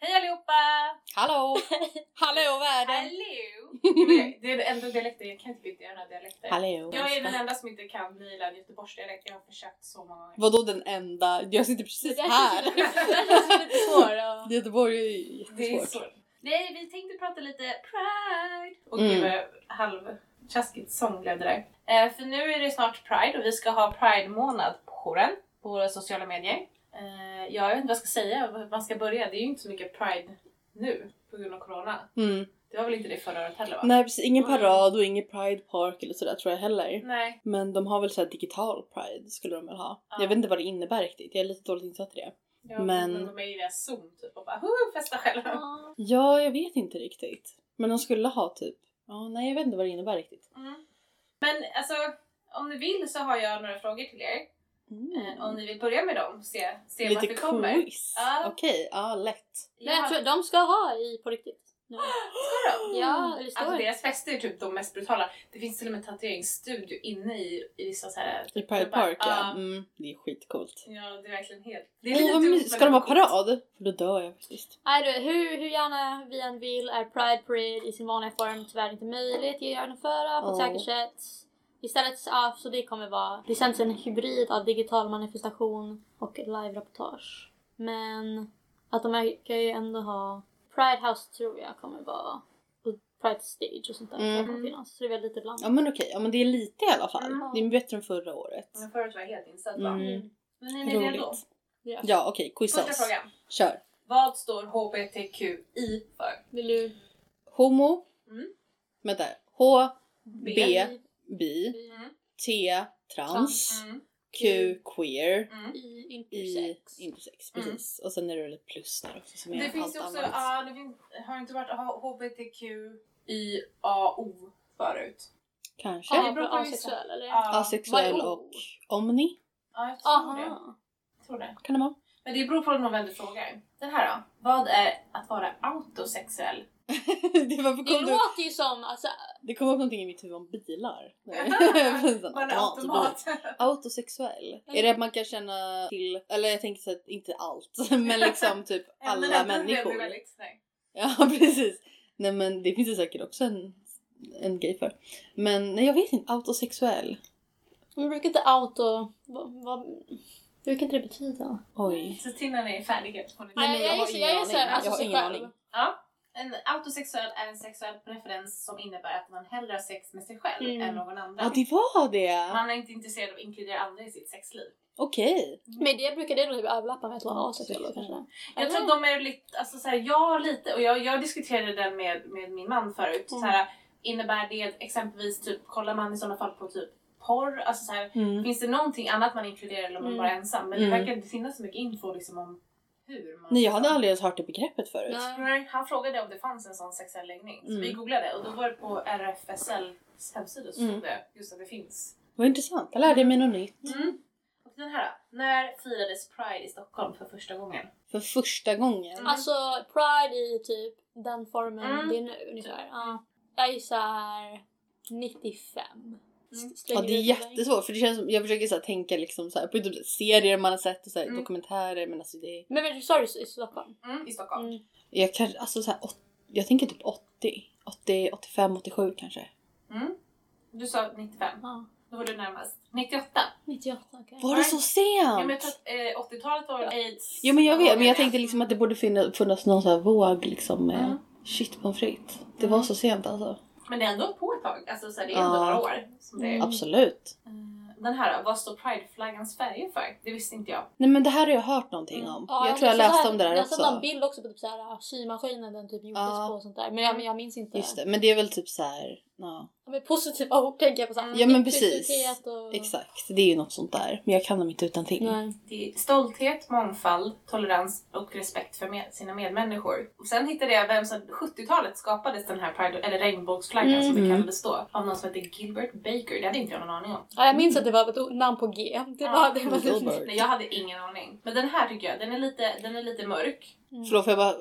Hallå! Hallå världen! Hello! Det- Det är det enda dialekten, jag kan inte byta den här dialekten. Hallå! Jag är den enda som inte kan Milan göteborgsdialekt, jag har försökt så många gånger. Vadå den enda? Jag sitter precis Det här! där känns lite svårt. Göteborg är ju Det är jättesvårt. så. Nej, vi tänkte prata lite Pride. Och Mm. gud vad halvtjaskigt sång blev det där. Eh, för nu är det snart Pride och vi ska ha Pride-månad på jouren, på våra sociala medier. Eh, jag vet inte vad jag ska säga, var man ska börja. Det är ju inte så mycket Pride nu på grund av Corona. Mm. Det var väl inte det förra året heller va? Nej precis, ingen Mm. parad och ingen pride park eller sådär tror jag heller. Nej. Men de har väl såhär digital pride skulle de väl ha. Ja. Jag vet inte vad det innebär riktigt, jag är lite dåligt insatt i det. Ja, Men- men... de är ju i deras zon typ och bara "Huhu, festa själva. Ja. Ja, jag vet inte riktigt. Men de skulle ha typ... Ja, nej jag vet inte vad det innebär riktigt. Mm. Men alltså, om ni vill så har jag några frågor till er. Eh, Om ni vill börja med dem, se, se vart Mm. Lite vi kommer. quiz. Ja. Okej, ja lätt. Men jag tror de ska ha i på riktigt. Nu. Vadå? Ja, eller Alltså står det? deras fester är typ de mest brutala. Det finns till och med en tatueringsstudio inne i, i vissa så här... I Pride klubbar. Park ja. Ja. Mm, det är skitcoolt. Ja, det är verkligen helt... Det är Nej, lite vad dumt, mysigt. men Ska de ha det är coolt. parad? För då dör jag faktiskt. Nej du, hur, hur gärna vi än vill är Pride Parade i sin vanliga form tyvärr inte möjligt att genomföra på ett Ja. säkert sätt. Istället ja, så det kommer vara, det sänds en hybrid av digital manifestation och live-reportage. Men att de verkar ju ändå ha Pride House tror jag kommer vara och Pride Stage och sånt där Mm. mm. kommer finnas. Så det är väl lite blandat. Ja men okej, ja, men det är lite i alla fall. Mm. Det är bättre än förra året. Men förut var jag helt insatt va? Mm. Men är ni redo? Roligt. Ja okej, quizza Första oss. frågan. Kör. Vad står HBTQI för? Vill du? Homo. Mm. Vänta. H, B. B, bi, Mm. T, trans, Mm. Q, queer, Mm. I I, intersex. intersex. Mm. Precis. Och sen är det väl ett plus där också som är Det finns ju allt också, annat. ja det finns, har inte varit HBTQIAO förut? Kanske. Ja, det det beror beror på asexuell eller? Ja. Asexuell Vad är O? och omni Ja, jag tror det. Aha. Jag tror det. kan det vara. Men det beror på om vem du frågar. Den här då? Vad är att vara autosexuell? det, var, Det kom det, låter ju som, alltså, det kom upp någonting i mitt huvud om bilar. Nej. Sån Man är automat. automat. Autosexuell? Nej. Är det att man kan känna till, eller jag tänker så att inte allt, men liksom typ Men alla den här bilden människor? är väldigt snygg. Ja precis. Nej men det finns ju säkert också en, en grej för. Men nej jag vet inte, autosexuell. man brukar inte auto... Vad, vad, brukar inte det betyda? Oj. Så till när ni är färdiga får ni Nej, men jag har gissar- ingen gissar aning. alltså Jag har sig ingen själv. aning. Ja. En autosexuell är en sexuell preferens som innebär att man hellre har sex med sig själv Mm. än någon annan. Ja det var det! Man är inte intresserad av att inkludera andra i sitt sexliv. Okej. Men det brukar det då typ överlappa med att vara asexuell Mm. då kanske? Jag tror att de är lite, alltså såhär, ja lite, och jag, jag diskuterade den med, med min man förut. Mm. Såhär, innebär det exempelvis, typ, kollar man i sådana fall på typ porr? Alltså såhär, Mm. Finns det någonting annat man inkluderar eller om man Mm. bara är ensam? Men det Mm. verkar inte finnas så mycket info liksom, om hur man... liksom- Nej jag hade aldrig ens hört det begreppet förut. Nej. Nej, Han frågade om det fanns en sån sexuell läggning. Så Mm. vi googlade och då var det på RFSLs hemsida så Mm. stod det just att det finns. Vad intressant, jag lärde mig något nytt. Och den här då. När firades Pride i Stockholm för första gången? För första gången. Mm. Alltså Pride i typ den formen Mm. det är nu ungefär. Ja. Jag gissar 95. Mm. Ja Slänger det är ut en blank. jättesvårt för det känns som, jag försöker så här, tänka liksom så här, på typ serier man har sett och så här, Mm. dokumentärer men alltså det är... Men vänta, sa du i Stockholm? Mm, I Stockholm. Mm. Jag, kan, alltså, så här, åt, jag tänker typ 80, 80, 85, 87 kanske. Mm. Du sa 95. Ja. Då var du närmast. 98. 98 okej. Var det så sent? Ja, men jag tror att eh, 80-talet var aids. Jo men jag vet, men jag tänkte liksom att det borde finnas, funnits någon sån här våg liksom med Mm. shit pommes frites. Det var så sent alltså. Men det är ändå på ett tag. Alltså så här, det är ändå Ja. några år. Som det är. Mm. Absolut. Eh, Den här då, vad står prideflaggans färger för? Det visste inte jag. Nej men det här har jag hört någonting Mm. om. Ja, jag tror jag läste läste här- om det där Jag såg någon också. bild också på typ såhär symaskinen den typ gjordes Ja. på och sånt där. Men jag, men jag minns inte. Just det, men det är väl typ så här. Ja, Ja, men positiva ord tänker jag på såhär. Ja, men precis. inklusivitet Och... exakt. Det är ju något sånt där. Men jag kan dem inte utan till. Mm. Nej. Det är stolthet, mångfald, tolerans och respekt för med sina medmänniskor. Och sen hittade jag vem som 70-talet skapades den här pride, eller regnbågsflaggan som det Mm. kallades då. Av någon som hette Gilbert Baker. Det hade inte jag någon aning om. Ja, jag minns att det var ett o- namn på G. Det var det. Var Gilbert. Nej, jag hade ingen aning. Men den här tycker jag, den är lite, den är lite mörk. Förlåt får jag bara eh,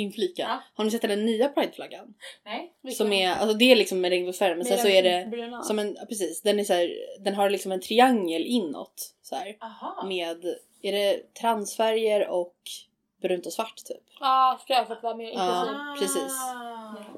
inflika? Ja. Har ni sett den nya prideflaggan? Nej? Som är, alltså det är liksom en regnbågsfärg men sen så är det Bruna. som en, ja, precis, den är så här, den har liksom en triangel inåt så här. Aha. med, är det transfärger och brunt och svart typ. Ja, för det för att vara mer inklusiv. Ja, precis.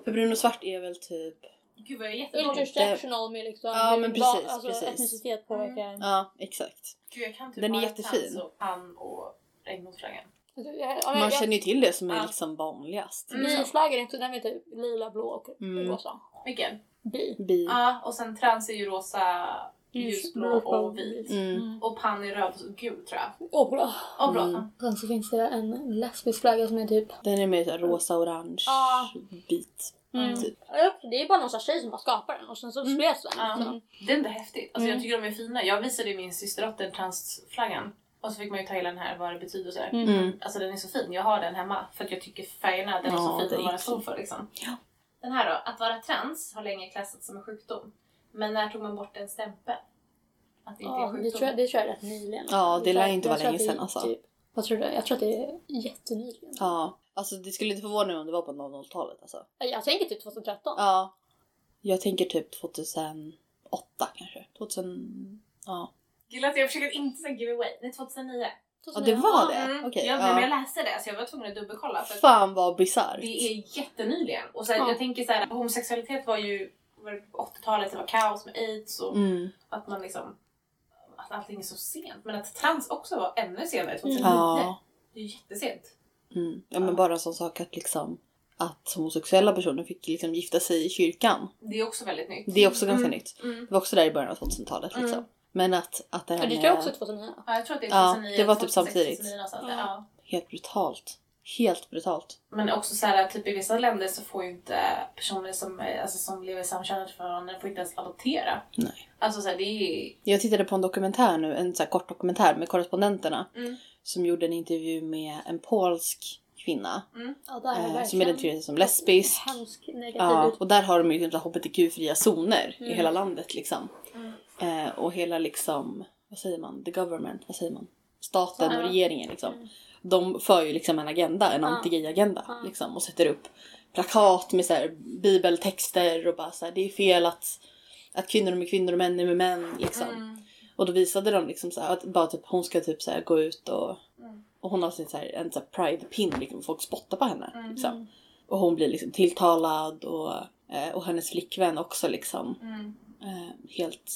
För brunt och svart är väl typ... Gud vad jag är jättedålig. Intersectional med liksom Ja, hur men ba- precis, alltså, precis. Mm. etnicitet påverkar. Ja, exakt. Gud, jag kan typ Den är bara jättefin. Tans och Ann och Regnbågsflaggan. Alltså, jag- ja, men Man jag- känner ju till det som är Ja. liksom vanligast. Mm. Min flagga är inte den är typ lila, blå och Mm. rosa. Vilken? Bi. Bi. Ja, och sen trans är ju rosa, ljusblå och vit. Mm. Och pan är röd och gul tror jag. Och blå. Och blå. Mm. Sen så finns det en lesbisk flagga som är typ... Den är mer såhär rosa-orange Ja. bit. Mm. Typ. Ja, Det är bara någon sån här tjej som bara skapar den och sen så Mm. spreds den. Ja. liksom. Det är ändå häftigt. Alltså, Mm. Jag tycker de är fina. Jag visade ju min systerdotter transflaggan. Och så fick man ju ta hela den här vad det betyder och sådär. Mm. Mm. Alltså den är så fin. Jag har den hemma för att jag tycker färgerna den är Ja, så fin den att är vara fin. stor för liksom. Ja. Den här då. Att vara trans har länge klassats som en sjukdom. Men när tog man bort en stämpel? Att det inte Ja, är en det, tror sjukdom. jag, det tror jag är rätt nyligen. Ja, det Jag tror- lär inte jag vara tror att länge det är sedan, alltså. Typ, vad tror du? Jag tror att det är jättenyligen. Ja. Alltså det skulle inte förvåna mig om det var på 00-talet alltså. Jag tänker typ 2013. Ja. Jag tänker typ 2008 kanske. 2000... Ja. Gillar att jag försöker inte säga give away. Det är 2009. Ja det var det? Mm. Okej. jag, men ja. jag läste det så jag var tvungen att dubbelkolla. För att Fan vad bisarrt. det är jättenyligen. Och så här, Ja. Jag tänker så här, homosexualitet var ju var det på 80-talet, det var kaos med aids och Mm. att man liksom att allting är så sent. Men att trans också var ännu senare, 2009. Mm. Ja. Det är ju jättesent. Mm. ja men bara en sån sak att liksom att homosexuella personer fick liksom gifta sig i kyrkan. Det är också väldigt nytt. Det är också ganska Mm. nytt. Mm. Det var också där i början av 2000-talet liksom. Mm. Men att, att det Ja, här det med... tror jag också 2009. Ja, jag tror att det är Ja, 2009. det var typ 2006, samtidigt. 2009 någonstans. Ja. Ja. Helt brutalt. Helt brutalt. Men också så här, typ i vissa länder så får ju inte personer som, eh, alltså, som lever i samkönade förhållanden får inte ens adoptera. Nej. Alltså så här, det är Jag tittade på en dokumentär nu, en så här kort dokumentär med korrespondenterna Mm. som gjorde en intervju med en polsk kvinna Ja, där eh, som verkligen- identifierade sig som lesbisk. Hemsk negativ Ja, ut- och där har de ju liksom hbtq-fria zoner i Mm. hela landet liksom. Mm. Eh, och hela liksom, vad säger man, the government, vad säger man? Staten och Ja. regeringen liksom. Mm. De för ju liksom en agenda, en Ja. anti-gay-agenda Ja. liksom och sätter upp plakat med så här, bibeltexter och bara så här, det är fel att, att kvinnor är med kvinnor och män är med män liksom. Mm. Och då visade de liksom så här, att bara typ, hon ska typ så här, gå ut och, Mm. och hon har sin så här, en så här pride-pin liksom, folk spottar på henne. Mm. Liksom. Och hon blir liksom tilltalad och, eh, och hennes flickvän också liksom Mm. eh, helt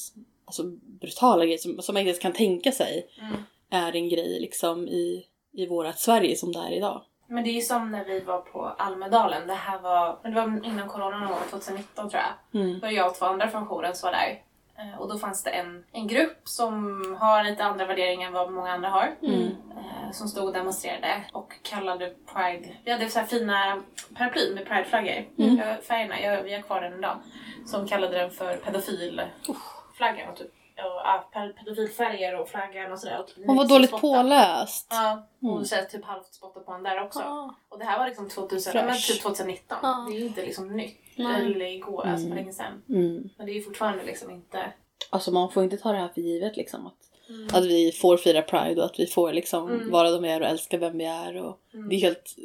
alltså, brutala grejer som, som man inte ens kan tänka sig Mm. är en grej liksom i, i vårat Sverige som det är idag. Men det är ju som när vi var på Almedalen. Det här var, men det var innan corona någon gång, 2019 tror jag. Mm. Då var jag och två andra från jouren som var där. Eh, Och då fanns det en, en grupp som har lite andra värderingar än vad många andra har. Mm. Eh, Som stod och demonstrerade och kallade Pride... Vi hade så här fina paraplyer med Pride-flaggor. Mm. Jag- Färgerna, jag, vi har kvar den idag. Som kallade den för pedofilflaggan. Och typ, och, ja, pe- pedofilfärger och flaggan och sådär. Och typ Hon var dåligt spotta. påläst. Ja, och Mm. Ah. så här typ halvt spottade på den där också. Ja. Och det här var liksom 2000, ja, men Fresh. typ 2019. Ja. Det är ju inte liksom nytt. Nej. Eller igår, alltså för Mm. länge sedan. Mm. Men det är ju fortfarande liksom inte... Alltså man får inte ta det här för givet liksom. Att, Mm. att vi får fira Pride och att vi får liksom Mm. vara de vi är och älska vem vi är. Och Det är helt...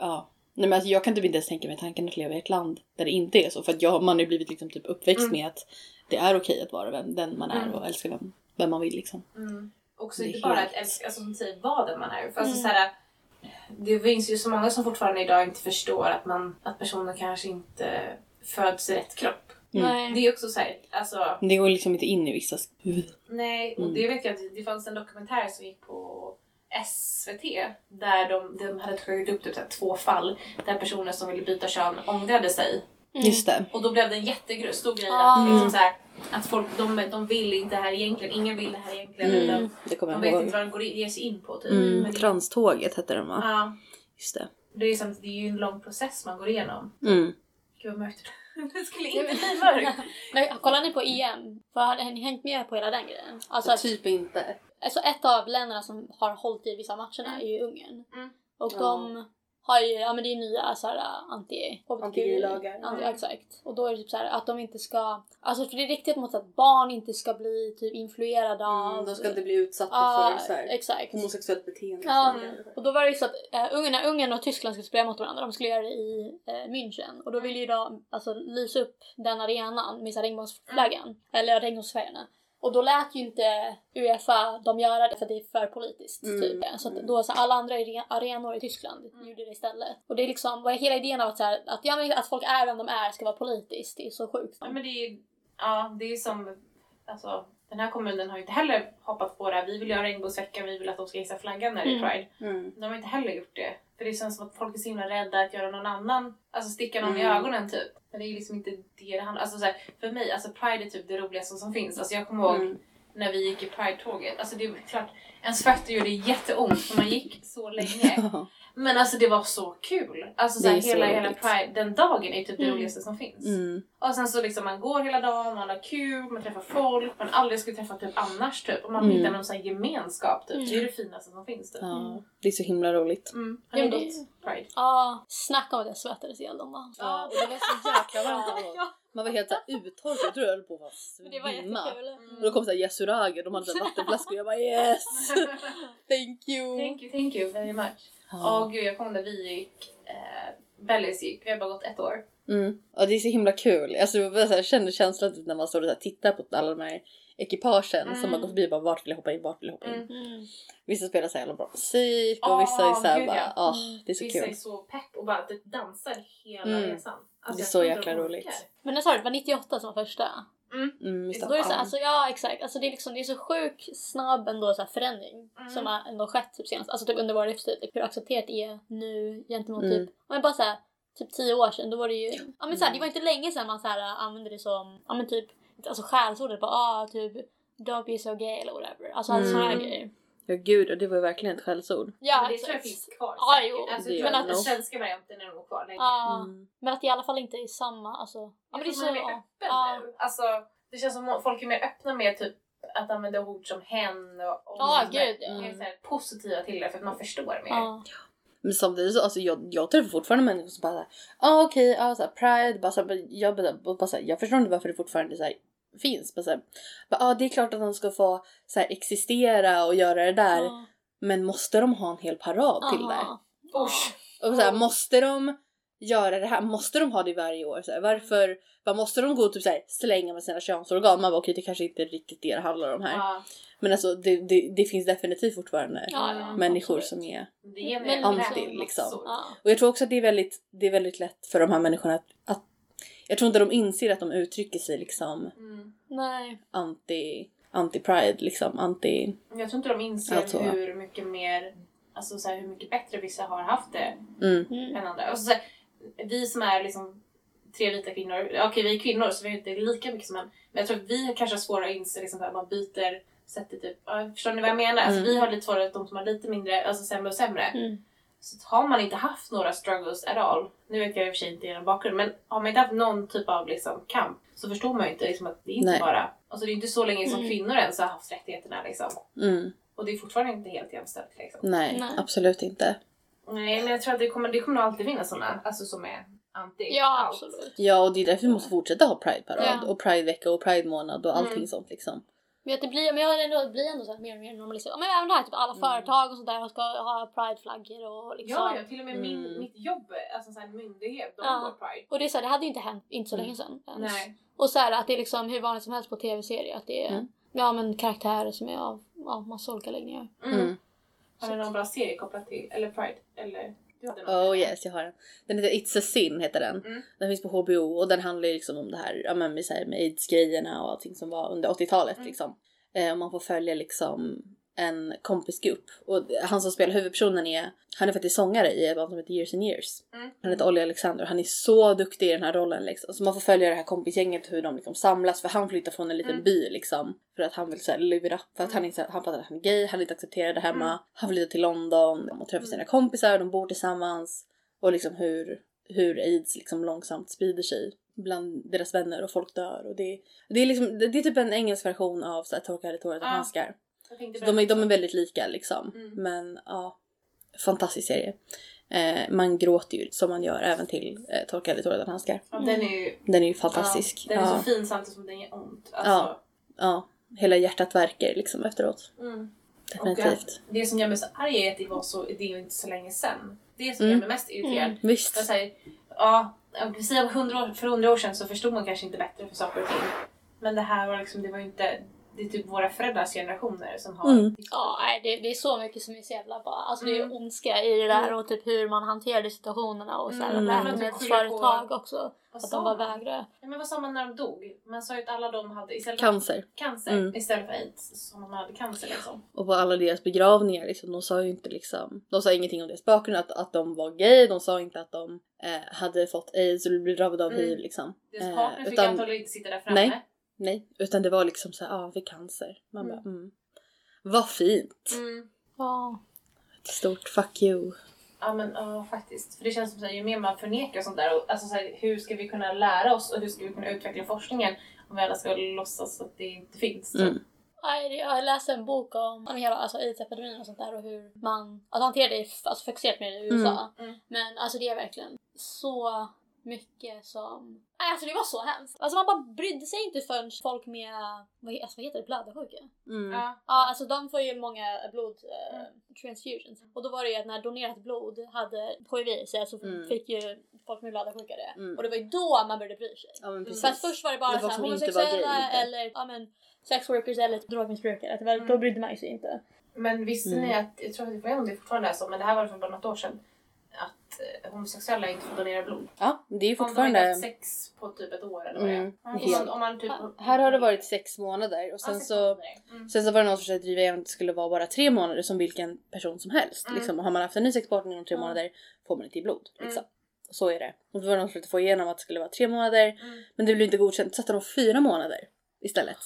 Ja. Nej, men alltså, jag kan typ inte ens tänka mig tanken att leva i ett land där det inte är så. För att jag, man har ju blivit liksom typ uppväxt Mm. med att det är okej att vara vem, den man är Mm. och älska vem, vem man vill liksom. Mm. Också Det är inte bara helt- att älska, alltså som säger vad den man är. För alltså, Mm. så här, det finns ju så många som fortfarande idag inte förstår att, man, att personer kanske inte föds i rätt kropp. Mm. Det Nej. är också såhär, alltså Men Det går liksom inte in i vissas huvud. nej, och Mm. det vet jag att det fanns en dokumentär som gick på SVT där de, de hade tagit upp typ så här två fall där personer som ville byta kön ångrade sig Mm. Just det. Och då blev det en jättegru- stor grej Ah. att, liksom så här, att folk de, de vill inte det här egentligen, ingen vill det här egentligen. Mm. utan Det kommer De jag vet ihåg. inte vad de går in, ger sig in på typ. Mm. Men det, Tranståget hette den va? ja, Just det. det, är liksom, det är ju en lång process man går igenom. Mm. Gud vad mörkt det skulle inte bli mörkt. Men kollar ni på EM? För har ni hängt med på hela den grejen? Alltså, att, Typ inte. alltså ett av länderna som har hållit i vissa matcherna är ju Ungern. Mm. Och Ja. de har ju, ja men det är nya såhär anti Anti-gay-lagar. Anti, Ja. Exakt. Och då är det typ såhär att de inte ska, alltså för det är riktigt mot att barn inte ska bli typ influerade Mm, av... bli utsatta Ja, exakt. homosexuellt beteende. Ja, Mm. Liksom. och då var det ju så att eh, Ungern, när Ungern och Tyskland skulle spela mot varandra, de skulle göra det i eh, München. Och då ville ju de alltså, lysa upp den arenan med så här regnbågsflaggan, eller regnbågsfärgerna. Och då lät ju inte Uefa dem göra det för att det är för politiskt. Mm. Typ. Så att då så alla andra are- arenor i Tyskland Mm. gjorde det istället. Och det är liksom, vad är hela idén av att, så här, att, ja, men att folk är vem de är ska vara politiskt, det är så sjukt. Ja, men det är ju ja, det är som, alltså, den här kommunen har ju inte heller hoppat på det här. Vi vill göra regnbågsveckan, vi vill att de ska hissa flaggan när det är Mm. pride. Mm. De har inte heller gjort det. För det känns som att folk är så himla rädda att göra någon annan, alltså sticka någon i Mm. ögonen typ. Men det är ju liksom inte det det handlar alltså, så här, För mig, alltså pride är typ det roligaste som finns. Alltså jag kommer ihåg Mm. när vi gick i pride-tåget. Alltså det är klart, ens fötter gjorde jätteont för man gick så länge. Men alltså det var så kul! Alltså så Det här, är så hela, hela roligt. pride, den dagen är typ det Mm. roligaste som finns. Mm. Och sen så liksom man går hela dagen, man har kul, man träffar folk man aldrig skulle träffa typ annars typ. Och man Mm. hittar någon sån här gemenskap typ. Mm. Det är det finaste som finns typ. Ja, det är så himla roligt. Mm. Har Ja, ni men det- gått Pride? Ja, snacka om att jag svettades ihjäl den dagen. Ja, och det var så jäkla varmt Ja, då. Man var helt såhär uttorkad, jag tror jag höll på att men det var svimma. jättekul. Mm. Och då kom såhär Yasuragi, de hade såhär vattenflaskor och jag bara yes! Thank you! thank you, thank you very much. Åh Ja, gud, jag kommer där vi gick. Eh, Bellis gick, vi har bara gått ett år. mm. ja det är så himla kul. Alltså, jag bara så här, känner känslan typ när man står och så här, tittar på alla de här ekipagen Mm. som har gått förbi bara vart vill jag hoppa in, vart vill jag hoppa in. Mm. Mm. Vissa spelar så jävla bra musik och Ja, vissa är såhär gud, bara ja. ah, det är Mm, så Vissa är kul. så pepp och bara typ dansar hela Mm. resan. Alltså, Det är jag så tror inte jäkla de orkar. roligt. Men jag sa det, det var 98 som var första. Mm, just Så Då är det så, Ja. alltså, ja exakt, alltså, det, är liksom, det är så sjuk snabb ändå, så här, förändring Mm. som har ändå skett typ, senast. Alltså, typ, under vår livstid. Typ, hur accepterat det är nu gentemot Mm. typ, ja, men bara, så här, typ tio år sedan. Då var det ju, ja, men, så här, det var inte länge sedan man så här, använde det som ja, men, typ, alltså, skällsordet. Bara, ah, typ, don't be so gay eller whatever. Alltså, alltså Mm. sådana här grejer. Ja gud, och det var ju verkligen ett skällsord. Ja, men det tror exakt. jag finns kvar. Ja, säkert. jo. Alltså, Det jag tror gör att det den nog. svenska varianten är nog kvar länge. Ja, Mm. Men att det i alla fall inte är samma. Alltså, ja, men det är så, man är mer ja. öppen ja. nu. Alltså, det känns som att folk är mer öppna med typ att använda ord som hen och, och Ja, sådär. gud Mer ja. Mm. Mm. så här positiva till det för att man förstår mer. ja. Men samtidigt så, alltså jag, jag träffar fortfarande människor som bara såhär, ah, okej, ja såhär pride, bara, så här, jag, bara, bara, så här, jag förstår inte varför det fortfarande så här, finns. Bara, så här, bara, ah, det är klart att de ska få så här, existera och göra det där, Ja. men måste de ha en hel parad till det? Ja. Usch. Och så här, måste de göra det här? Måste de ha det varje år? Så här, varför? Vad måste de gå och typ så här, slänga med sina könsorgan? Man bara okej, det kanske inte är riktigt det det handlar om här. Ja, Men alltså det, det, det finns definitivt fortfarande Ja, ja, människor absolut. som är det ger mig Men en anti, jävla liksom. massor. Ja. Och jag tror också att det är väldigt, det är väldigt lätt för de här människorna att, att... Jag tror inte de inser att de uttrycker sig liksom Mm. Nej. anti... Anti-pride liksom, anti... Jag tror inte de inser Alltså. hur mycket mer, alltså så här, hur mycket bättre vissa har haft det Mm. Mm. än andra. Alltså, så här, vi som är liksom tre vita kvinnor, okej vi är kvinnor så vi är inte lika mycket som män. Men jag tror att vi kanske har svårare att inse liksom, att man byter sättet. Typ, ja, förstår ni vad jag menar? Alltså, Mm. vi har lite svårare att de som har lite mindre, alltså sämre och sämre. Mm. Så att har man inte haft några struggles at all, nu vet jag i och för sig inte er bakgrund, men har man inte haft någon typ av liksom, kamp så förstår man ju inte liksom, att det är inte Nej. bara, alltså det är inte så länge som Mm. kvinnor ens har haft rättigheterna liksom. Mm. Och det är fortfarande inte helt jämställt liksom. Nej, Nej. absolut inte. Nej men jag tror att det kommer, det kommer nog alltid finnas sådana, alltså som är anti Ja, allt. absolut. Ja, och det är därför vi måste fortsätta ha Pride-parad Ja. och Pride-vecka och Pride-månad och allting Mm. sånt liksom. Men att det blir, men jag har ändå, det blir ändå så här mer och mer normaliserat. Men även det här typ alla företag och sådär ska ha prideflaggor och liksom. Ja, ja, till och med min, Mm. mitt jobb, alltså en sån här myndighet, de Ja. går pride. Och det är så här, det hade ju inte hänt inte så länge sedan ens. Nej. Och så här att det är liksom hur vanligt som helst på tv-serier att det är Mm. ja, men karaktärer som är av ja, massa olika läggningar. Mm. Mm. Har du någon bra serie kopplat till, eller pride? Eller? Du hade någon? Oh yes, jag har den. Den heter It's a Sin, heter den. Mm. Den finns på HBO och den handlar ju liksom om det här ja, men med, så här, med aids-grejerna och allting som var under 80-talet Mm. liksom. Eh, och man får följa liksom en kompisgrupp och det- han som spelar huvudpersonen är, han är faktiskt sångare i ett band som heter Years and Years. Mm. Han heter Olli Alexander och han är så duktig i den här rollen liksom. Så man får följa det här kompisgänget hur de liksom samlas för han flyttar från en liten Mm. by liksom. För att han vill såhär live it up. För att han, är, så här- han fattar att han är gay, han är inte accepterad där hemma. Mm. Han flyttar till London och träffar sina kompisar, de bor tillsammans. Och liksom hur, hur aids liksom långsamt sprider sig bland deras vänner och folk dör. Och det, det, är, liksom, det, det är typ en engelsk version av såhär, Torka det tåret av Ah. handskar. Jag tänkte Så de, är, berätta. de är väldigt lika liksom. Mm. Men ja, fantastisk serie. Eh, man gråter ju som man gör även till eh, Torkade tårar utan handskar. Ja, den är ju Den är ju Mm. fantastisk. Ja, Ja, den är så fin samtidigt som den gör ont. Alltså, ja. Hela hjärtat verkar liksom efteråt. mm. Definitivt. Det som gör mig så arg är att det var så, det är ju inte så länge sedan. Det som Mm. gör mig mest irriterad. Mm. Jag Visst. säger, ja, om vi säger 100 år, för hundra år sedan så förstod man kanske inte bättre för saker och ting. Men det här var liksom, det var ju inte, det är typ våra föräldrars generationer som har... Mm. Ja, nej, det, det är så mycket som är så jävla bra. Alltså det är Mm. ju ondska i det där och typ hur man hanterade situationerna och så här, Mm. typ läkemedelsföretag också. Vad Att sa de bara man? vägrade. Ja, men vad sa man när de dog? Man sa ju att alla de hade istället för Cancer. cancer Mm. istället för aids. Som man hade cancer liksom. Och på alla deras begravningar liksom, de sa ju inte liksom, de sa ingenting om deras bakgrund, att, att de var gay, de sa inte att de eh, hade fått aids eller blivit drabbade av Mm. hiv liksom. Deras Eh, partner fick utan- antagligen inte sitta där framme. Nej. Nej, utan det var liksom såhär, ja ah, vi cancer. Man Mm. bara mm. Vad fint! Mm. Ja. Ett stort fuck you. Ja men ja, faktiskt. För det känns som att ju mer man förnekar sånt där, och, alltså, så här, hur ska vi kunna lära oss och hur ska vi kunna utveckla forskningen om vi alla ska låtsas att det inte finns? typ. Mm. Nej, det- Jag läste en bok om, om hela alltså, aids-epidemin och sånt där och hur man att hantera det f- alltså, fokuserat med det i USA. Mm, mm. Men alltså det är verkligen så mycket som... Nej, alltså det var så hemskt. Alltså man bara brydde sig inte förrän folk med, vad, he- alltså, vad heter det, blödarsjuka? Mm. Ja. Ja, alltså de får ju många blod eh, transfusions. Och då var det ju att när donerat blod hade hiv i sig så Mm. fick ju folk med blödarsjuka det. Mm. Och det var ju då man började bry sig. Ja men För att precis. För att först var det bara Det var så här, som inte var gay, homosexuella inte. eller ja, men, sexworkers eller drogmissbrukare. Att det var, Mm. Då brydde man ju sig inte. Men visste Mm. ni att, jag tror att det var om det fortfarande är så, men det här var för bara något år sedan, att eh, homosexuella inte får donera blod. Ja, det är ju Om de inte haft fortfarande... sex på typ ett år eller vad det är. Mm, Ja, Om helt. man, om man typ... Här har det varit sex månader och Ja, sen sex så... månader. Mm. Sen så var det någon som försökte driva igenom att det skulle vara bara tre månader som vilken person som helst. Mm. Liksom. Och har man haft en ny sexpartner inom tre Ja. månader får man inte i blod. Liksom. Mm. Och så är det. Och så var det någon som försökte få igenom att det skulle vara tre månader Mm. men det blev inte godkänt. Så satte de fyra månader istället.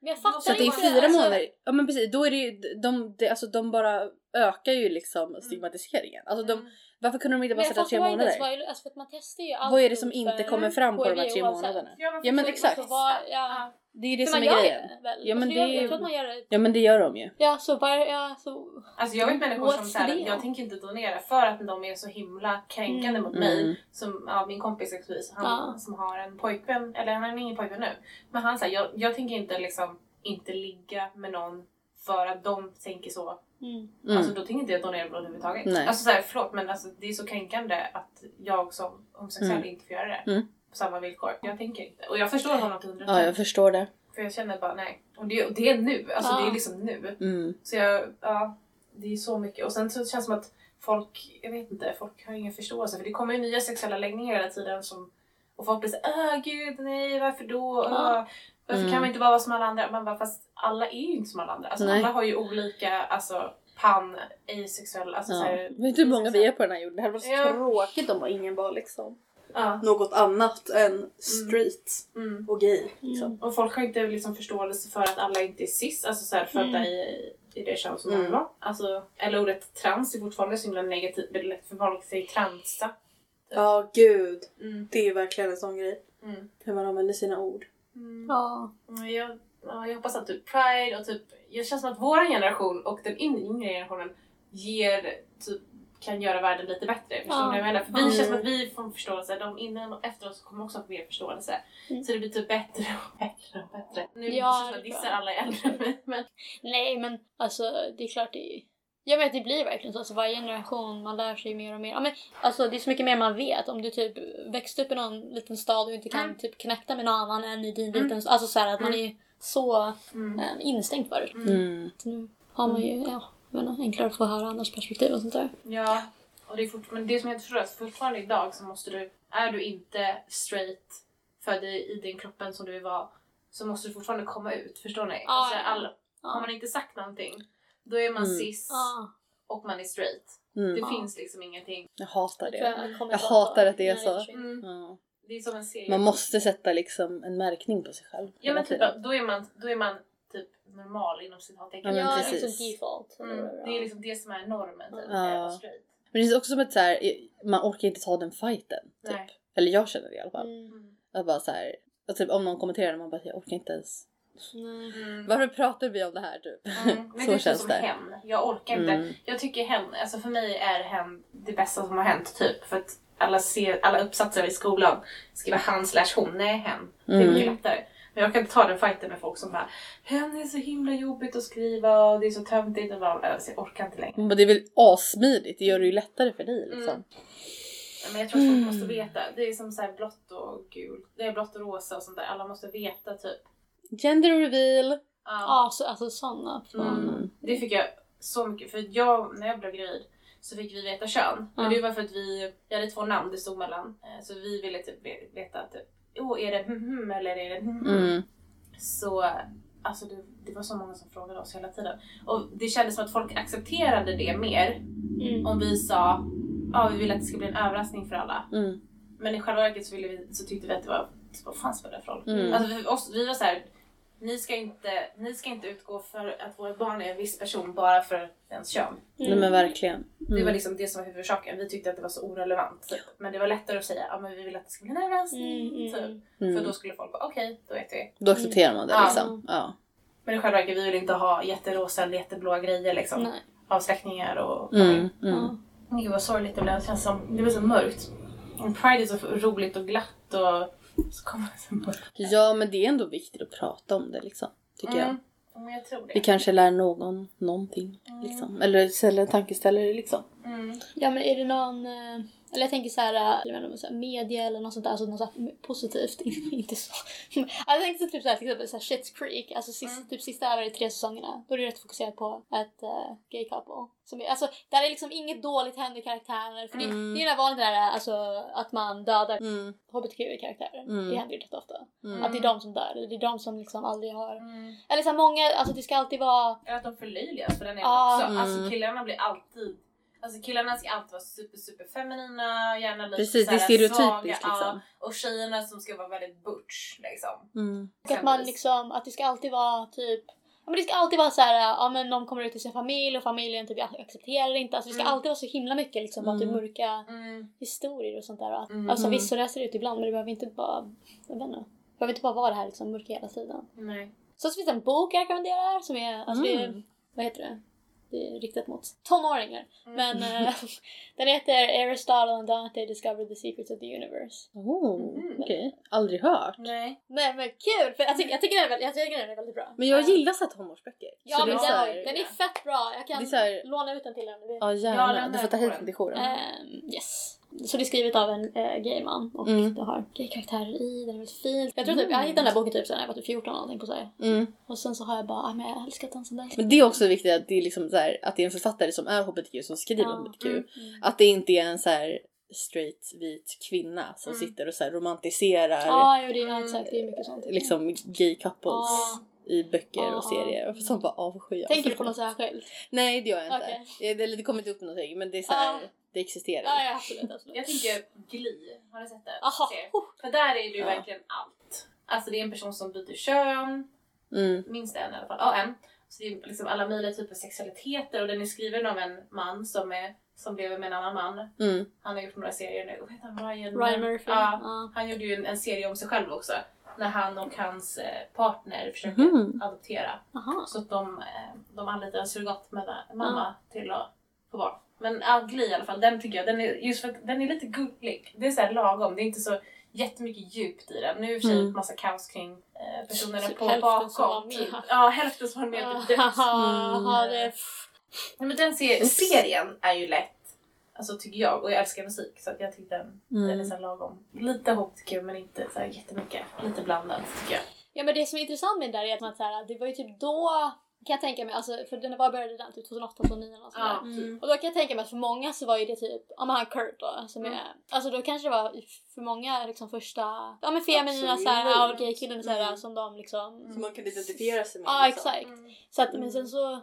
Men jag fattar Så att det är inte, fyra alltså, månader. Ja men precis, då är det ju, de, det, alltså, de bara ökar ju liksom stigmatiseringen. Alltså de, Mm. varför kunde de inte Mm. Men bara jag sätta fattar tre bara inte månader? ens vad, alltså, för att man testar ju allt Vad är det som blod inte för kommer fram på de här HIV tre oavsett. månaderna? Ja, Ja, men för- exakt. Så vad- ja. Ja. Det är ju det För som man är gör grejen. det väl? Ja, men Alltså, jag, det är- jag tror att man gör det. Ja men det gör de ju. Ja, så var, ja, så... Alltså jag vet människor What's som the säger deal? jag tänker inte donera för att de är så himla kränkande Mm. mot Mm. mig. Som ja, min kompis exempelvis, han Ja. som har en pojkvän, eller han har ingen pojkvän nu. Men han säger jag, jag tänker inte liksom inte ligga med någon för att de tänker så. Mm. Mm. Alltså då tänker inte jag donera blod överhuvudtaget. Nej. Alltså såhär, förlåt men alltså, det är så kränkande att jag som homosexuell Mm. inte får göra det. Mm. På samma villkor. Jag tänker inte. Och jag förstår honom till hundra ja jag förstår det. För jag känner bara nej. Och det, och det är nu. Alltså Ja. det är liksom nu. Mm. Så jag, ja, det är så mycket. Och sen så känns det som att folk, jag vet inte, folk har ingen förståelse. För det kommer ju nya sexuella läggningar hela tiden som, och folk blir såhär Åh gud, nej varför då? Ja. Åh, varför Mm. kan man inte bara vara som alla andra? Man bara, fast alla är ju inte som alla andra. Alltså Nej. alla har ju olika, alltså pan, asexuell, alltså Ja. såhär. Vet du hur många vi är på den här jorden? Det hade varit så Ja. tråkigt om bara ingen var liksom Ja. något annat än straight Mm. och gay. Mm. Liksom. Och folk har inte liksom förståelse för att alla inte är cis, alltså såhär födda Mm. i, i det kön som Mm. de var. Alltså, eller ordet trans är fortfarande så himla negativt, det är lätt för folk att säga transa. Ja, gud. Mm. Det är verkligen en sån grej. Mm. Hur man använder sina ord. Mm. Ja. Ja, Jag, ja, jag hoppas att typ Pride och typ, jag känns som att vår generation och den in- yngre generationen ger, typ, kan göra världen lite bättre. Förstår ni Ja. vad jag menar? För vi Mm. känns som att vi får förståelse, de innan och efter oss kommer också få mer förståelse. Mm. Så det blir typ bättre och bättre och bättre. Nu känns Ja, det som att det jag är bra. dissar alla äldre än mig, men Nej men alltså det är klart det är... Jag menar det blir verkligen så. Alltså, varje generation man lär sig mer och mer. Ja, men, alltså, det är så mycket mer man vet. Om du typ växte upp i någon liten stad och inte kan Mm. typ connecta med någon annan än i din Mm. liten Alltså så här, att man Mm. är så mm. eh, instängd förut. Mm. Så Nu har man ju ja, jag menar, enklare att få höra andras perspektiv och sånt där. Ja, och det är fort, men det som jag inte förstår är att fortfarande idag så måste du, är du inte straight född i, i den kroppen som du var så måste du fortfarande komma ut, förstår ni? Ja, alltså, ja. alla, Har Ja. man inte sagt någonting då är man Mm. cis Ja, och man är straight. Det Mm. Ja. finns liksom ingenting. Mm. Jag hatar tror det. jag kommer Jag prata hatar om att det är när så. Mm. försvinner. Ja. Det är som en serie. Man måste sätta liksom en märkning på sig själv. ja, hela men typ, tiden. då, är man, då är man typ normal inom Ja, citattecken. men Ja, precis. liksom default. Mm. Det är liksom det som är normen. Typ, Ja. att vara straight. men det är också som ett så här, man orkar inte ta den fighten. Typ. Nej. Eller jag känner det i alla fall. Mm. Att bara så här, att typ, om någon kommenterar man bara jag orkar inte ens. Nej. Mm. Varför pratar vi om det här typ? Mm. Men Så det är känns som det. Hem. Jag orkar inte. Mm. Jag tycker hem, alltså för mig är hem det bästa som har hänt typ. För att alla, ser, alla uppsatser i skolan skriver han slash hon, nej hen. Det är mycket Mm. lättare. Men jag kan inte ta den fighten med folk som bara Hen är så himla jobbigt att skriva och det är så töntigt och bara, alltså, jag orkar inte längre. Men det är väl assmidigt, det gör det ju lättare för dig liksom. Mm. Men jag tror att folk Mm. måste veta. Det är som så här blått och gult. Det är blått och rosa och sånt där. Alla måste veta typ. Gender reveal! Ja. Ja, så, alltså sådana från... Mm. Det fick jag så mycket, för jag, när jag blev gravid så fick vi veta kön. Men Ja. det var för att vi, vi hade två namn det stod mellan. Eh, Så vi ville typ ve- veta typ, oh, är det mhm eller är det mhm? Mm. Så alltså det, det var så många som frågade oss hela tiden. Och det kändes som att folk accepterade det mer Mm. om vi sa ja vi vill att det ska bli en överraskning för alla. Mm. Men i själva verket så, ville vi, så tyckte vi att det var, typ, vad fan spelar det för roll? Mm. Alltså vi, oss, vi var såhär, ni ska, inte, ni ska inte utgå för att våra barn är en viss person bara för ens kön. Nej Mm. men verkligen. Det var Mm. liksom det som var huvudorsaken. Vi tyckte att det var så orelevant. Typ. Men det var lättare att säga, ja men vi vill att det ska bli en överraskning. Mm, Typ. mm. För Mm. då skulle folk bara, okej, då vet vi. Då accepterar man det Ja. liksom. Ja. Men i själva verket, vi vill inte ha jätterosa eller jätteblåa grejer liksom. Nej. Av släktingar och Mm. Ja. Mm. Gud vad sorgligt det blev. Det känns som, det blev så mörkt. Men Pride är så roligt och glatt och så kommer det så mörkt. Ja men det är ändå viktigt att prata om det liksom. Tycker jag. Mm. Ja, Men jag tror det. Vi kanske lär någon någonting. Liksom. Eller ställer en tankeställare liksom. Mm. Ja men är det någon, eh, eller jag tänker så här, eh, jag vet inte, så här media eller något sånt där, alltså något så här positivt, inte så. Alltså, jag tänkte typ såhär till exempel så här Shit's Creek, alltså sist, Mm. typ sista av de tre säsongerna, då är det rätt fokuserat på ett eh, gay couple. Som är, alltså där är liksom inget dåligt händer i karaktärer, för det, Mm. det är ju vanligt det där alltså att man dödar Mm. hbtqi-karaktärer, Mm. det händer ju rätt ofta. Mm. Att det är de som dör, eller det är de som liksom aldrig har, Mm. eller såhär många, alltså det ska alltid vara Eller att de förlöjligas för den är Ja. också. Mm. Alltså killarna blir alltid Alltså killarna ska alltid vara super super feminina, gärna lite Precis, så det här är stereotypiskt svaga, liksom. Ja, och tjejerna som ska vara väldigt butch liksom. Mm. Och att man Exempelvis. liksom, att det ska alltid vara typ Ja, men det ska alltid vara så här, ja men någon kommer ut till sin familj och familjen typ accepterar det inte. Alltså det ska Mm. alltid vara så himla mycket liksom bara typ Mm. mörka Mm. historier och sånt där. Och att, Mhm. Alltså visst så läser det ut ibland men det behöver inte bara, jag vet inte. Det behöver inte bara vara det här liksom mörka hela tiden. Nej. Så finns det en bok jag rekommenderar som är, alltså det Mm. är, vad heter det? Det är riktat mot tonåringar. Mm. Men eh, den heter Aristotle and Dante Discovered the Secrets of the Universe. Oh, Mhm. Okej, aldrig hört. Nej. Nej men kul! För jag tycker, jag tycker, den, är väldigt, jag tycker den är väldigt bra. Eh, Men jag gillar så här tonårsböcker. Ja så men det är den, så här, ju- den är fett bra, jag kan Det är så här- låna ut den till dig om du vill. Ja Ja, gärna, lämna du får ta hit den. den till jouren. Äh. Ehm, yes. Så det är skrivet av en eh, gay man och Mm. det har gay-karaktärer i, den är väldigt fin. Jag tror typ, jag hittade den där boken typ sen när jag var typ 14 eller någonting på sig. Mm. Och sen så har jag bara, ah, men jag har älskat den sen dess. Men det är också viktigt att det är, liksom så här, att det är en författare som är hbtq som skriver Ja. hbtq. Mm. Att det inte är en så här straight vit kvinna som Mm. sitter och så här romantiserar Ja, ah, jo det är Mm. exakt, det är mycket sånt. liksom gay couples Ja. i böcker Ja. och serier som bara avskyr. Tänker du på något särskilt? Nej det gör jag inte. Okej. Det, det, det kommer inte upp någonting men det är så här, Ja. det existerar. Ja, ja absolut. absolut. Jag tänker Gli, har du sett den? Aha. Ser. Oh. För där är det ju Ja. verkligen allt. Alltså det är en person som byter kön, Mm. minst en i alla fall, ja en. Så det är liksom alla möjliga typer av sexualiteter och den är skriven av en man som, är, som lever med en annan man. Mm. Han har gjort några serier nu, vad heter han? Ryan, Ryan Murphy. Ja, Ja. Han gjorde ju en, en serie om sig själv också. När han och hans eh, partner försökte Mhm. adoptera. Aha. Så att de, eh, de anlitar en surrogatmamma mamma till att få barn. Men Ugly i alla fall, den tycker jag, den är, just för att den är lite gullig. Det är så här lagom, det är inte så jättemycket djupt i den. Nu är i och för sig Mm. massa kaos kring eh, personerna Typ på hälften som var bakom. med. Typ. Ja, hälften som var med. Ja, Mm. typ döds. Mm. ja, det Nej, men den ser, serien är ju lätt. Alltså tycker jag, och jag älskar musik så att jag tyckte den, den är Mm. så här lagom. Lite hbtq men inte så här jättemycket. Lite blandat tycker jag. Ja men det som är intressant med det där är att man, så här, det var ju typ då, kan jag tänka mig, alltså, för den var började den typ 2008, 2009 eller Ja, sådär. Och då kan jag tänka mig att för många så var ju det typ, ja men han Kurt då, som Mm. är, alltså då kanske det var för många liksom första, ja men feminina Absolut. såhär, ja, och gay-killen såhär Mm. som de liksom, ja Så man kan identifiera sig med. liksom. exakt. Mm. Så att, Mm. men sen så,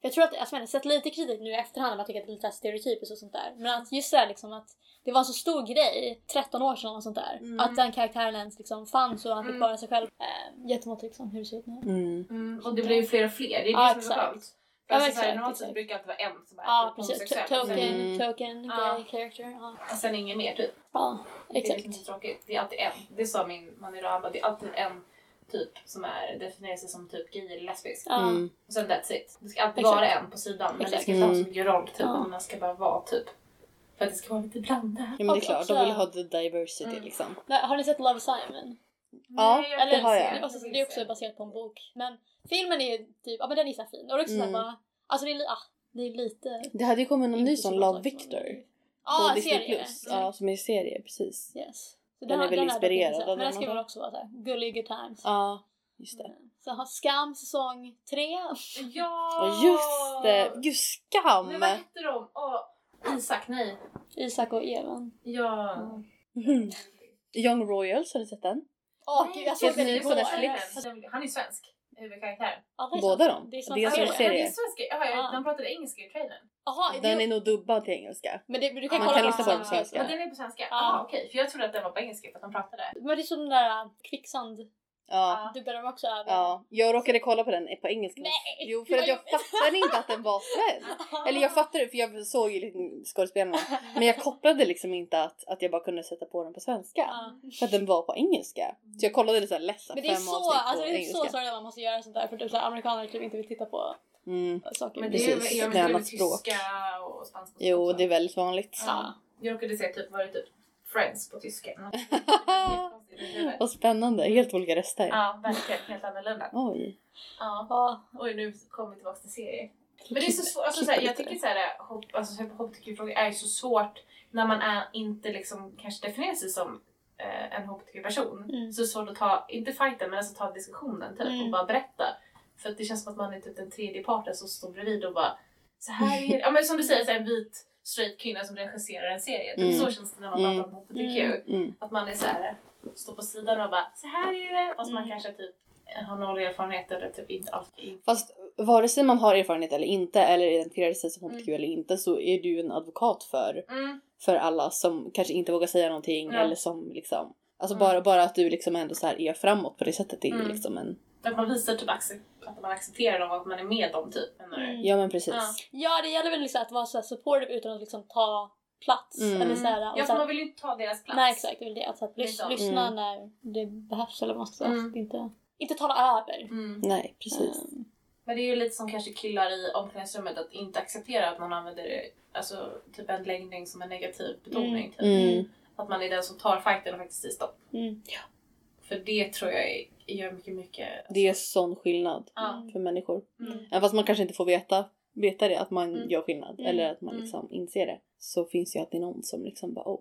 jag tror att, alltså jag har sett lite kritik nu i efterhand, man tycker att det är lite stereotypiskt och sånt där. Men att just det här liksom att det var en så stor grej, 13 år sedan och sånt där, Mm. att den karaktären ens liksom fanns och han fick Mm. vara sig själv eh, gentemot liksom hur det ser ut nu. Mm. Mm, och det blir ju fler och fler, det är det Ja, som är så exakt. skönt. För Ja, alltså, exakt, såhär, normalt sett exakt. brukar det alltid vara en som är typ Ja precis, homosexuell. To- token, Sen- Mm. token, Ja. gay character. Ja, Och sen ingen mer typ. ja Det är liksom exakt. inte tråkigt. Det är alltid en. Det sa min man idag, han bara, det är alltid en typ som är, definierar sig som typ gay eller lesbisk. Ja. Mm. Och sen that's it. Det ska alltid Exakt. vara en på sidan men det Exakt. ska inte ha så Mm. mycket roll typ. Ja. Man ska bara vara typ. För att det ska vara lite blandat. Ja men det är Och klart, också- de vill ha the diversity Mm. liksom. Men Har ni sett Love Simon? Ja, Nej, det vill har se. jag. Alltså, vill det är också se. baserat på en bok. Men filmen är ju typ, ja men den är så här fin. Och det är också Mm. mm. bara, alltså det är, li- ah, det är lite... Det hade ju kommit någon ny inte så som bra Love saker. Victor. Ja, på Disney serie. Mm. Plus. Ja, som är serie, precis. Yes. Så Den är väl har jag dock inte inspirerad sett, av Men den den ska väl också. också vara såhär, gullig good times. Ja, Just det. Sen har Skam säsong tre. Ja! Och just det! Gud, skam! Men vad hette de? Åh, Isak, nej. Isak och Evan. Ja. Mm. Mhm. Young Royals, har du sett den? Åh Nej, gud jag såg helt den ny på igår. Alltså, Netflix. Han är svensk, huvudkaraktären. Ja, det är Båda sant. dem. Det är sant. Det är som Ja, en men- serie. men det är svenska. Ja, jag- Ja. De pratade engelska i trailern. Jaha, det- Den är nog dubbad till engelska. men det, du kan Man kolla kan lyssna på den den på svenska. Ja, den är på svenska? Ja. Ah, okej. För jag trodde att den var på engelska för att de pratade. Men det är som den där äh, kvicksand. Ja. Ja. Dubbar de också över? ja. Jag råkade kolla på den på engelska. Nej, jo, för gud, att jag vad jobbigt. fattade inte att den var svensk. Eller jag fattade för jag såg ju liksom skådespelarna. Men jag kopplade liksom inte att, att jag bara kunde sätta på den på svenska. Ja. För att den var på engelska. Så jag kollade lite såhär ledsen Men det är fem så, avsnitt på alltså, det är så engelska. sorgligt att man måste göra sånt där för typ, så här, amerikaner typ inte vill titta på Mm. äh, saker. Men det är det är, Precis, jag det är vet annat inte, det är väl språk. tyska och spanska. och Jo, sånt det är väldigt vanligt. Ja. Jag råkade säga typ, var det typ Friends på tyska? Mm. Vad spännande, helt olika röster. ja, verkligen. Helt annorlunda. Oj. Ja. Ja. Oj, nu kommer vi tillbaka till serier. Men det är så svårt, alltså, såhär, jag tycker såhär, hopp, alltså, såhär, hbtq-frågor är ju så svårt när man är, inte liksom, kanske definierar sig som eh, en hbtq-person. Mm. Så svårt att ta, inte fighten men alltså ta diskussionen typ Mm. och bara berätta. För att det känns som att man är typ den tredje parten som står bredvid och bara så här är det. Ja men som du säger, såhär, en vit straight kvinna som regisserar en serie. Typ Mm. Så känns det när man Mm. pratar om hbtq. Mm. Mm. Att man är så här, står på sidan och bara så här är det. Fast man Mm. kanske typ har noll erfarenhet eller typ inte alltid Fast vare sig man har erfarenhet eller inte eller identifierar sig som hbtq eller inte så är du en advokat för, Mm. för alla som kanske inte vågar säga någonting Ja. eller som liksom Alltså Mm. bara, bara att du liksom ändå så här är framåt på det sättet det är ju Mm. liksom en... Att man visar typ accep- att man accepterar dem och att man är med dem typ. menar du? Mm. Ja men precis. Ja. ja, det gäller väl liksom att vara så här supportive utan att liksom ta plats. Mm. Eller så här, och Ja så för här, man vill ju inte ta deras plats. Nej exakt, det är väl det. Att så här, lys- Liksom. lyssna Mm. när det behövs eller vad man ska säga. Mm. Att Inte, inte tala över. Mm. Nej precis. Ehm, Men det är ju lite som kanske killar i omklädningsrummet att inte acceptera att någon använder alltså, typ en läggning som en negativ betoning. Typ. Mm. Att man är den som tar fighten och faktiskt säger stopp. Mm. För det tror jag är, gör mycket, mycket... Det är sån skillnad Ja. för människor. Mm. Även fast man kanske inte får veta, veta det att man Mm. gör skillnad Mm. eller att man Mm. liksom inser det. Så finns ju alltid någon som liksom bara oh.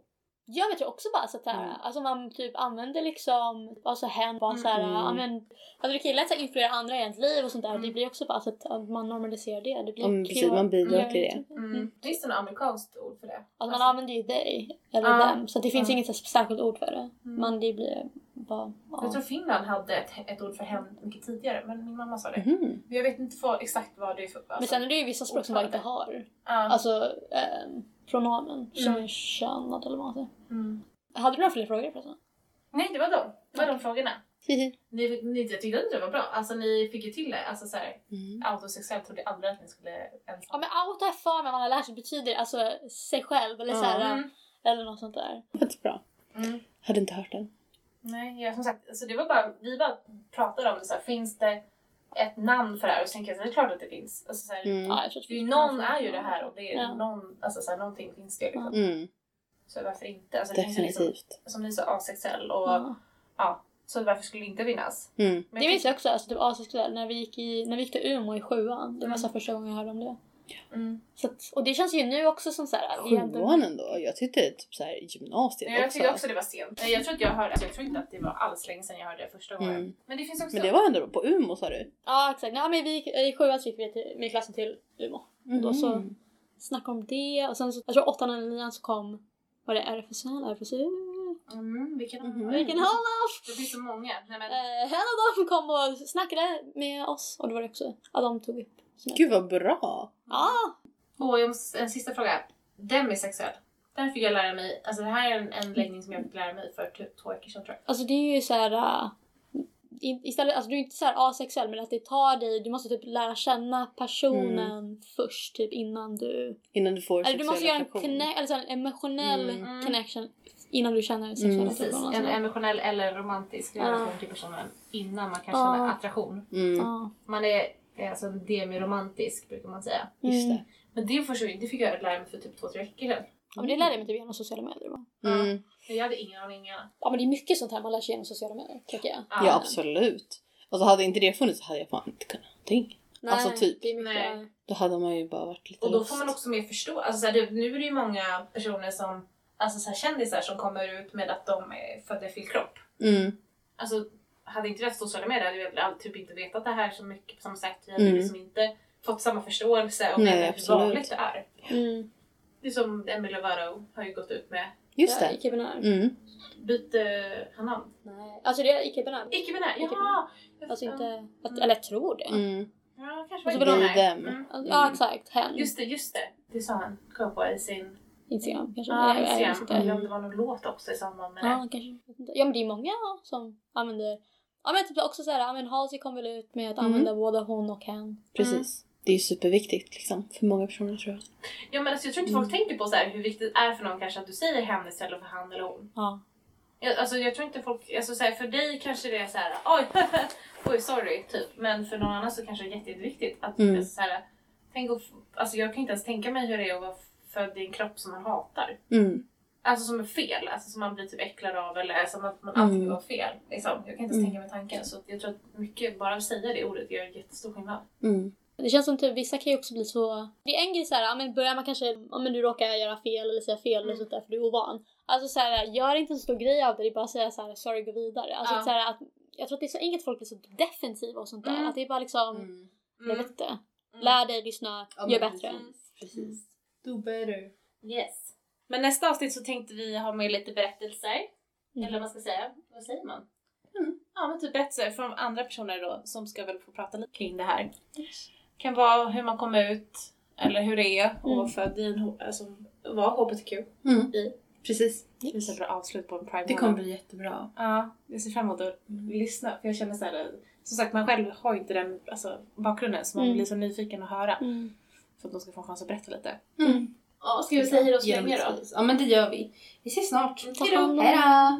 Jag vet ju också bara så att så här, Mm. alltså man typ använder liksom vad som hänt, vad så här, Mm. ja, men, alltså det killar att så här influera andra i ens liv och sånt där. Mm. Det blir också bara så att, att man normaliserar det. Det blir Ja, men kul. precis, man bidrar Jag till vet det. inte. Mm. Finns det något amerikanskt ord för det? Alltså man använder ju dig eller Ja. dem så att det finns Ja. inget så här särskilt ord för det. Mm. Men det blir bara... Ja. Jag tror Finland hade ett, ett ord för hämnd mycket tidigare men min mamma sa det. Mhm. Men jag vet inte vad- exakt vad det är för... Mm-hmm. men Alltså, sen är det ju vissa språk som bara inte har ja. alltså, ehm, pronomen som Mm. är könad eller vad man säger. mm. Hade du några fler frågor förresten? Nej det var de. Det var de frågorna. Hihi. Ni, ni, jag tyckte att det var bra. Alltså ni fick ju till det. Alltså såhär, Mm. autosexuellt trodde jag aldrig att ni skulle Ja ensam. men out har jag för mig man har lärt sig betyder alltså sig själv eller så här, Mm. eller något sånt där. Jättebra. Mm. Hade inte hört den. Nej, jag, som sagt, alltså det var bara, vi bara pratade om det såhär, finns det ett namn för det här? Och så tänker jag så här, det är klart att det finns. Alltså, såhär, Mm. Ja, jag tror att det är vi- ju, någon är ju det här och det är Ja. någon, alltså såhär, någonting finns det liksom. Ja. Mm. Så varför inte? Alltså, det finns ju liksom, Definitivt. som ni sa, asexuell och Ja. ja. Så varför skulle det inte finnas? Mm. Men Det jag minns jag också, alltså typ asexuell, när vi gick, i, när vi gick till Umeå i sjuan. Det var Mm. så här första gången jag hörde om det. tyck- mm. Så att, och det känns ju nu också som såhär... Sjuan ändå. Jag tyckte typ såhär gymnasiet Jag tyckte också. också det var sent. Nej, Jag tror, att jag, hörde, alltså, jag tror inte att det var alls länge sedan jag hörde det första gången. Mm. Men det finns också... Men det var ändå på Umeå sa du? Ja exakt, ja, men vi gick, i sjuan så gick vi till, med klassen till Umeå. Mhm. Då så- Snackade om det och sen så, jag tror åttan eller nian så kom, var det RFSL, RFSU? Mm, vilken Mhm. Vilken Halland! Det finns så många. Nej, men, Eh, en av dem kom och snackade med oss och det var det också, ja de tog upp. sina- Gud vad bra! Ja! och jag måste, en sista fråga. Demisexuell. Där fick jag lära mig, alltså det här är en, en läggning som jag fick lära mig för typ två veckor sedan tror jag. Alltså det är ju såhär... äh, i- istället, alltså du är inte såhär asexuell men att det tar dig, du måste typ lära känna personen först typ innan du... Innan du får Eller du måste sexuell göra en, attraktion. conne- eller så här, en emotionell Mm. connection innan du känner sexuell Mm. Precis, attraktion. en Mm. emotionell eller romantisk Ja. relation till personen innan man kan Ja. känna attraktion. Mm. Man är är alltså demiromantisk brukar man säga. Just det. Men det, försvann, det fick jag lära mig för typ två, tre veckor sedan. Ja, men det lärde jag mig typ genom sociala medier. va? Ja. Mm. Men jag hade ingen aning ah. innan. Ja men det är mycket sånt här man lär sig genom sociala medier tycker jag. Ja. Ja absolut. Alltså hade inte det funnits så hade jag fan inte kunnat någonting. Alltså, typ. Det är mycket, Nej. Då hade man ju bara varit lite Och då lost. får man också mer förstå. Alltså, så här, det, nu är det ju många personer som, alltså så här, kändisar som kommer ut med att de är födda i fel kropp. Mm. Alltså, hade inte vi haft sociala medier hade vi väl all- typ inte vetat det här så mycket på samma sätt. Vi hade Mm. liksom inte fått samma förståelse om Nej, hur absolut. vanligt det är. Mm. Det är som Emil Lovato har ju gått ut med. Just Ja, det. Icke-binär. Mm. Byt eh, han namn. Nej. Alltså det är icke-binär. Icke-binär! Ja! Icke-binär. Alltså inte... Att, eller jag tror det. Mm. Ja, kanske Och så var vill de- icke-binär. dem. Mm. Alltså, ja exakt, hen. Just det, just det. Det sa han. Kom jag på i sin... Instagram kanske. Ja, Eller- eller Instagram. Mm. sånt där. Eller om det var någon låt också i samband med det. Ja, kanske. Jag vet inte. Ja men det är många som använder... Ja men typ också såhär, ja men Halsey kom väl ut med att Mm. använda både hon och hen. Precis. Det är ju superviktigt liksom, för många personer tror jag. Ja men alltså, jag tror inte folk tänker på så här, hur viktigt det är för någon kanske att du säger hen istället för han eller hon. Ja. Jag, alltså jag tror inte folk, alltså så här, för dig kanske det är så här, oj, oj sorry typ. Men för någon annan så kanske det är jätte- jätteviktigt att Mm. alltså, så här, tänk och, f- alltså jag kan inte ens tänka mig hur det är att vara född i en kropp som man hatar. Mm. Alltså som är fel, alltså som man blir typ äcklad av eller som att man Mm. alltid var fel. Liksom. Jag kan inte ens Mm. tänka mig tanken. Så att jag tror att mycket, bara att säga det ordet gör en jättestor skillnad. Mm. Det känns som typ, vissa kan ju också bli så... Det är en grej såhär, ja men börjar man kanske, ja men du råkar göra fel eller säga fel eller Mm. sånt där för du är ovan. Alltså såhär, gör inte en stor grej av det, det är bara att säga såhär sorry gå vidare. Alltså Ja. att såhär, att, jag tror att det är så enkelt folk blir så defensiva och sånt där. Mm. Att det är bara liksom, Mm. jag vet inte. Lär dig, lyssna, gör bättre. Precis. Do better. Yes. Men nästa avsnitt så tänkte vi ha med lite berättelser. Mm. Eller vad man ska säga. Vad säger man? Mm. Ja men typ berättelser från andra personer då som ska väl få prata lite kring det här. kan vara hur man kom ut eller hur det är att vara Mm. född i en, h- alltså vara HBTQ. Mm. I. Precis. Det är så bra avslut på en pride Det kommer bli jättebra. Ja, jag ser fram emot att lyssna för jag känner så här, som sagt man själv har ju inte den alltså, bakgrunden så man Mm. blir så nyfiken att höra Mm. för att de ska få en chans att berätta lite. Mm. Ja, ska vi säga hej då Mm, så Genom länge då? precis. Ja men det gör vi. Vi ses snart. Ta hand om Hej då!